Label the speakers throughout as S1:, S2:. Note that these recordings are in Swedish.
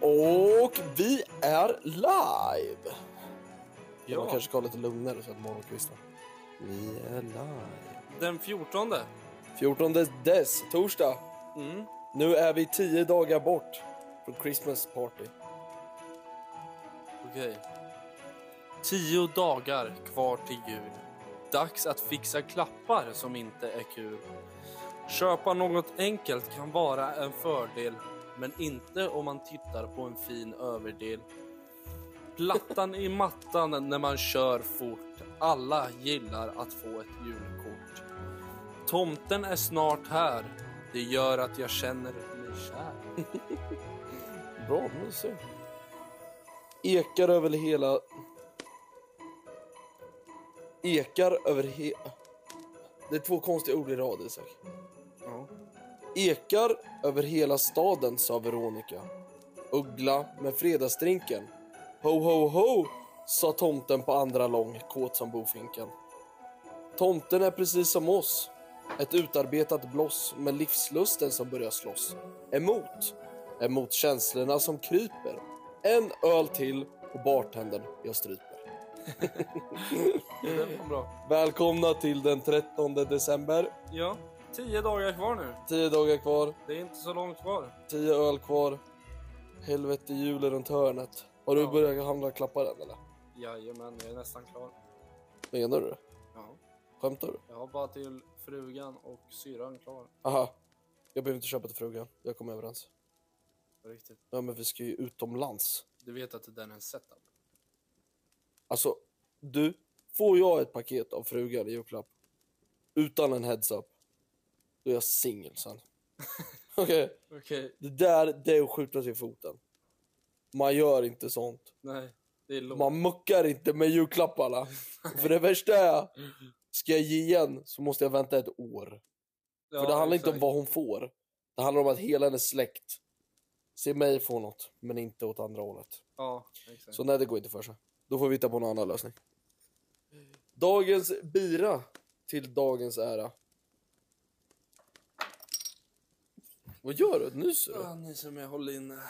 S1: Och vi är live! Ja. Man
S2: Ja,
S1: kanske ska ha lite lugnare så att morgonkvisten. Vi är live.
S2: den 14.
S1: 14 dess, torsdag.
S2: Mm.
S1: Nu är vi 10 dagar bort från Christmas party.
S2: Okej. Tio dagar kvar till jul. Dags att fixa klappar som inte är kul. Köpa något enkelt kan vara en fördel, men inte om man tittar på en fin överdel. Plattan i mattan när man kör fort. Alla gillar att få ett julkort. Tomten är snart här. Det gör att jag känner mig kär.
S1: Bra, mysigt. Ekar över hela... Ekar över hela... Det är två konstiga ord i rad, Isak.
S2: Ja.
S1: Ekar över hela staden, sa Veronica. Uggla med fredagsdrinken. Ho, ho, ho, sa tomten på andra lång, kåt som bofinken. Tomten är precis som oss. Ett utarbetat bloss med livslusten som börjar slåss. Emot. Emot känslorna som kryper. En öl till och bartendern jag stryper.
S2: Det var bra.
S1: Välkomna till den 13 december.
S2: Ja, tio dagar kvar nu.
S1: 10 dagar kvar.
S2: Det är inte så långt kvar.
S1: Tio öl kvar. Helvete, jul är runt hörnet. Har du
S2: Ja.
S1: börjat handla klappar än eller?
S2: Jajamän, jag är nästan klar.
S1: Menar du?
S2: Ja,
S1: Skämtar du?
S2: jag har bara till frugan och syran klar.
S1: Aha. Jag behöver inte köpa till frugan. Jag kommer överens.
S2: På Riktigt.
S1: Ja, men vi ska ju utomlands.
S2: Du vet att det där är en setup?
S1: Alltså, du. Får jag ett paket av frugan i julklapp utan en heads-up, då är jag singel sen. Okej,
S2: Okej,
S1: det där det är att skjuta sig i foten. Man gör inte sånt.
S2: nej. Det är lågt.
S1: Man muckar inte med julklapparna. För det värsta är, ska jag ge igen så måste jag vänta ett år.
S2: Ja,
S1: För det handlar inte om
S2: exakt.
S1: vad hon får. Det handlar om att hela hennes släkt ser mig få något, men inte åt andra hållet.
S2: Ja, exakt.
S1: Så nej, det går inte för sig. Då får vi hitta på någon annan lösning. Dagens bira till dagens ära. Vad gör du? Nyser du?
S2: Ah, ni som jag håller in. Aj.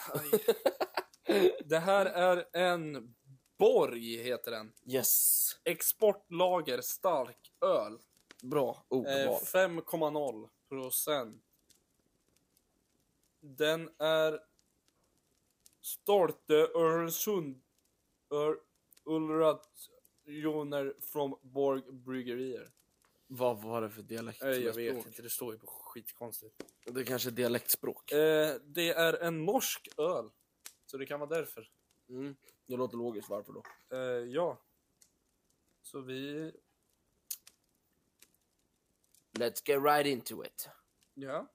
S2: det här är en Borg, heter den.
S1: Yes.
S2: Exportlager stark öl.
S1: Bra ordval.
S2: Eh, 5,0 procent. Den är Stolte Öresund Ör, Ulrationer from Borg Bryggerier.
S1: Vad var det för dialekt?
S2: Eh, jag
S1: med
S2: vet
S1: språk?
S2: inte, det står ju på skitkonstigt.
S1: Det är kanske är dialektspråk.
S2: Eh, det är en norsk öl. Så det kan vara därför.
S1: Mm. Det låter logiskt. Varför då?
S2: Eh, ja. Så vi...
S1: Let's get right into it.
S2: Ja.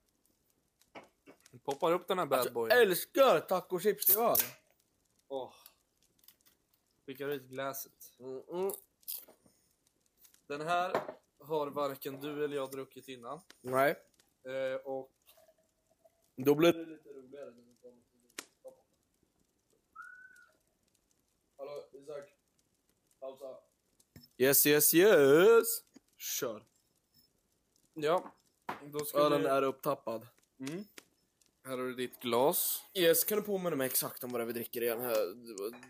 S2: Vi Poppar upp den här bad boyen.
S1: Alltså, älskar tacochips till öl.
S2: Åh. Skickar ut glaset.
S1: Mm,
S2: Den här har varken du eller jag druckit innan.
S1: Nej,
S2: Eh, och
S1: då blir det...
S2: lite roligare när vi kommer till Hallå, Isak. Pausa.
S1: Yes, yes, yes. Kör.
S2: Ja, då ska
S1: Ölen
S2: vi...
S1: är upptappad.
S2: Mm. Här har du ditt glas.
S1: Yes, kan du påminna mig exakt om vad det är vi dricker igen? Jag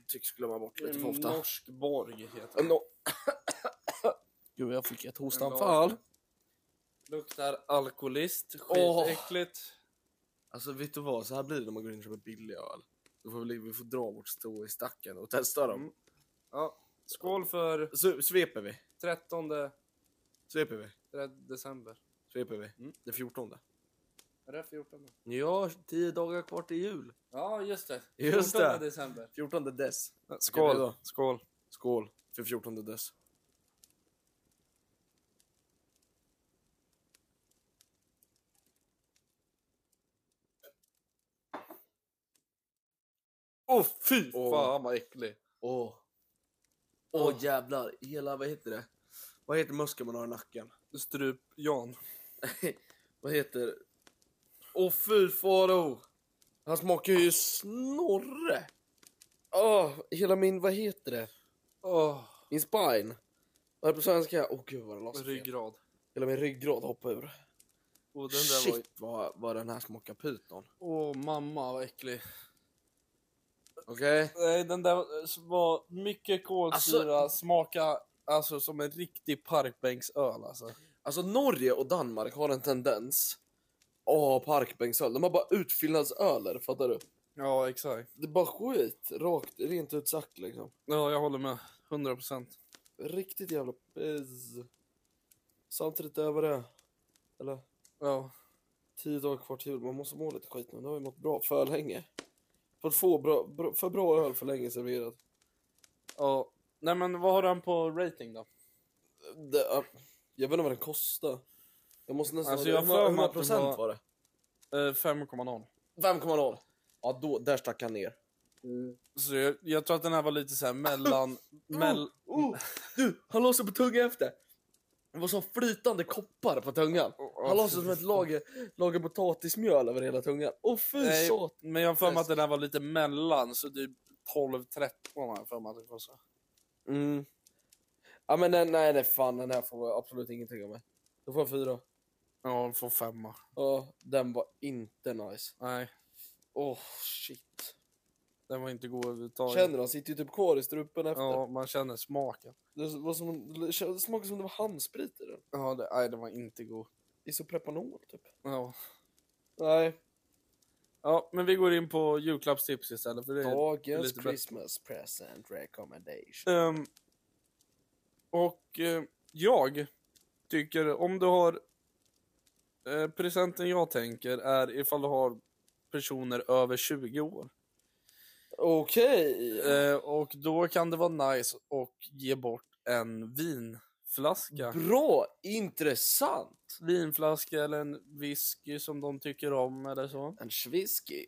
S1: tycks glömma bort lite för ofta. Mm.
S2: Norsk borg heter den.
S1: No. Gud, jag fick ett hostanfall.
S2: Luktar alkoholist.
S1: Åh.
S2: Skitäckligt.
S1: Alltså, vet du vad? Så här blir det när man går in och köper billig öl. Då får vi, vi får dra vårt strå i stacken och testa dem.
S2: Mm. Ja. Skål för
S1: Så, sveper vi.
S2: 13
S1: Sveper vi.
S2: eh, december.
S1: Sveper vi.
S2: Mm.
S1: Den 14.
S2: Är det 14?
S1: Ja, tio dagar kvar till jul.
S2: Ja, just det.
S1: Just
S2: 14
S1: det.
S2: december.
S1: 14 dess. Skål.
S2: Skål. Skål.
S1: Skål för 14 dess.
S2: Åh oh, fy
S1: Åh.
S2: fan vad äcklig.
S1: Åh. Åh jävlar, hela vad heter det? Vad heter muskeln man har i nacken?
S2: Strup Jan.
S1: vad heter... Åh fy faro! Han smakar ju snorre! Åh, hela min, vad heter det?
S2: Åh,
S1: Min spine. Vad är det på svenska? Åh gud vad det låter fel.
S2: ryggrad.
S1: Hela min ryggrad hoppade ur.
S2: Och den där var ju...
S1: Shit vad, vad den här smakar pyton.
S2: Åh, mamma vad äcklig.
S1: Okej?
S2: Nej, den där var mycket kolsyra, smaka alltså som en riktig parkbänksöl alltså.
S1: Alltså Norge och Danmark har en tendens att ha parkbänksöl. De har bara utfyllnadsöler, fattar du?
S2: Ja, exakt.
S1: Det är bara skit, rakt, rent ut sagt liksom.
S2: Ja, jag håller med. 100 procent.
S1: Riktigt jävla piss. Samtidigt över det. Eller?
S2: Ja.
S1: Tio dagar kvar till jul. Man måste må lite skit nu. Nu har vi mått bra för länge. Fått få bra, bra, för bra öl för länge serverat.
S2: ja. Nej, men vad har den på rating då?
S1: Det, ja, jag vet inte vad den kostar. Jag måste nästan...
S2: Alltså,
S1: hur
S2: jag har
S1: många-
S2: för
S1: hur
S2: mig
S1: många
S2: att den
S1: procent
S2: var-
S1: var det?
S2: Eh, 5,0.
S1: 5,0. Ja, då, där stack han ner. Mm.
S2: Så jag, jag tror att den här var lite så här mellan... mell,
S1: Oh, du, han la sig på tungan efter. Det var som flytande koppar på tungan. Han la sig som ett lager, lager potatismjöl över hela tungan. Åh fy
S2: Nej.
S1: satan.
S2: Men jag har för mig att den här var lite mellan, så typ 12-13 har jag för mig att det kostade.
S1: Mm. Ja men den, nej, nej fan den här får jag absolut ingenting av mig. Då får jag fyra.
S2: Ja, den får femma.
S1: Ja, den var inte nice.
S2: Nej,
S1: Åh shit.
S2: den var inte god överhuvudtaget.
S1: Känner du? Han sitter ju typ kvar i strupen efter.
S2: Ja, man känner smaken.
S1: Det, var som, det smakade som det var handsprit i den.
S2: Ja, det, nej, den var inte god.
S1: Isoprepanol typ.
S2: Ja.
S1: Nej.
S2: ja, men vi går in på julklappstips istället. För det är,
S1: Dagens
S2: lite bättre.
S1: Christmas present recommendation.
S2: Ehm, och eh, jag tycker, om du har... eh, presenten jag tänker är ifall du har personer över 20 år.
S1: Okej.
S2: Eh, och då kan det vara nice och ge bort en vinflaska.
S1: Bra, intressant.
S2: Vinflaska eller en whisky som de tycker om eller så.
S1: En svisky.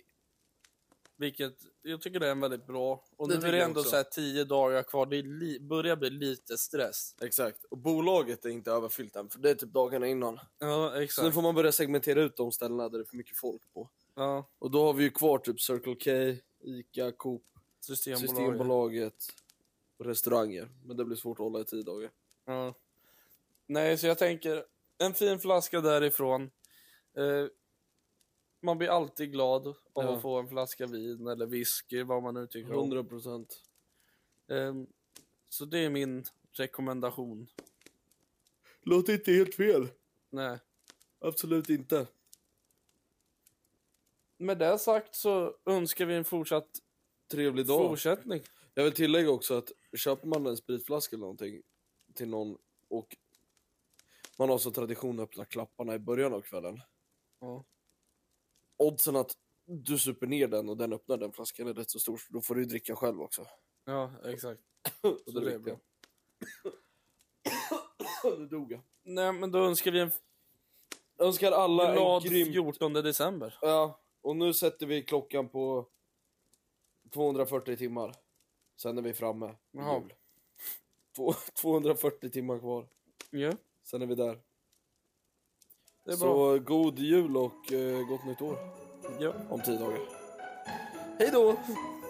S2: Vilket jag tycker det är en väldigt bra. Och
S1: Det
S2: nu är
S1: tycker
S2: det
S1: jag
S2: ändå
S1: också.
S2: så här tio dagar kvar. Det är li- börjar bli lite stress.
S1: Exakt. Och bolaget är inte överfyllt än, för det är typ dagarna innan.
S2: Ja,
S1: Så nu
S2: exakt.
S1: får man börja segmentera ut de ställena där det är för mycket folk på.
S2: Ja,
S1: Och då har vi ju kvar typ Circle K, Ica, Coop,
S2: Systembolaget.
S1: Systembolaget och restauranger. Men det blir svårt att hålla i tio dagar.
S2: Ja. Nej, så jag tänker en fin flaska därifrån. Eh, man blir alltid glad av
S1: Ja.
S2: att få en flaska vin eller whisky, vad man nu tycker om.
S1: 100 procent.
S2: Ehm, Så det är min rekommendation.
S1: Låter inte helt fel.
S2: Nej.
S1: Absolut inte.
S2: Med det sagt så önskar vi en fortsatt
S1: Trevlig dag.
S2: fortsättning.
S1: Jag vill tillägga också att köper man en spritflaska eller någonting till någon och man har som tradition att öppna klapparna i början av kvällen.
S2: Ja.
S1: Oddsen att du super ner den och den öppnar den flaskan är rätt så stor, så då får du ju dricka själv också.
S2: ja, exakt.
S1: Och
S2: Så
S1: det
S2: det
S1: är
S2: är bra.
S1: viktiga. Nu dog jag.
S2: Nej, men då önskar vi en
S1: Önskar alla
S2: glad
S1: en grym...
S2: 14 december.
S1: Ja, och nu sätter vi klockan på 240 timmar. Sen är vi framme. vid
S2: Jaha.
S1: jul. Två- 240 timmar kvar.
S2: Ja,
S1: Sen är vi där.
S2: det är bra.
S1: Så god jul och eh, gott nytt år
S2: Ja.
S1: om tio dagar. Hej då!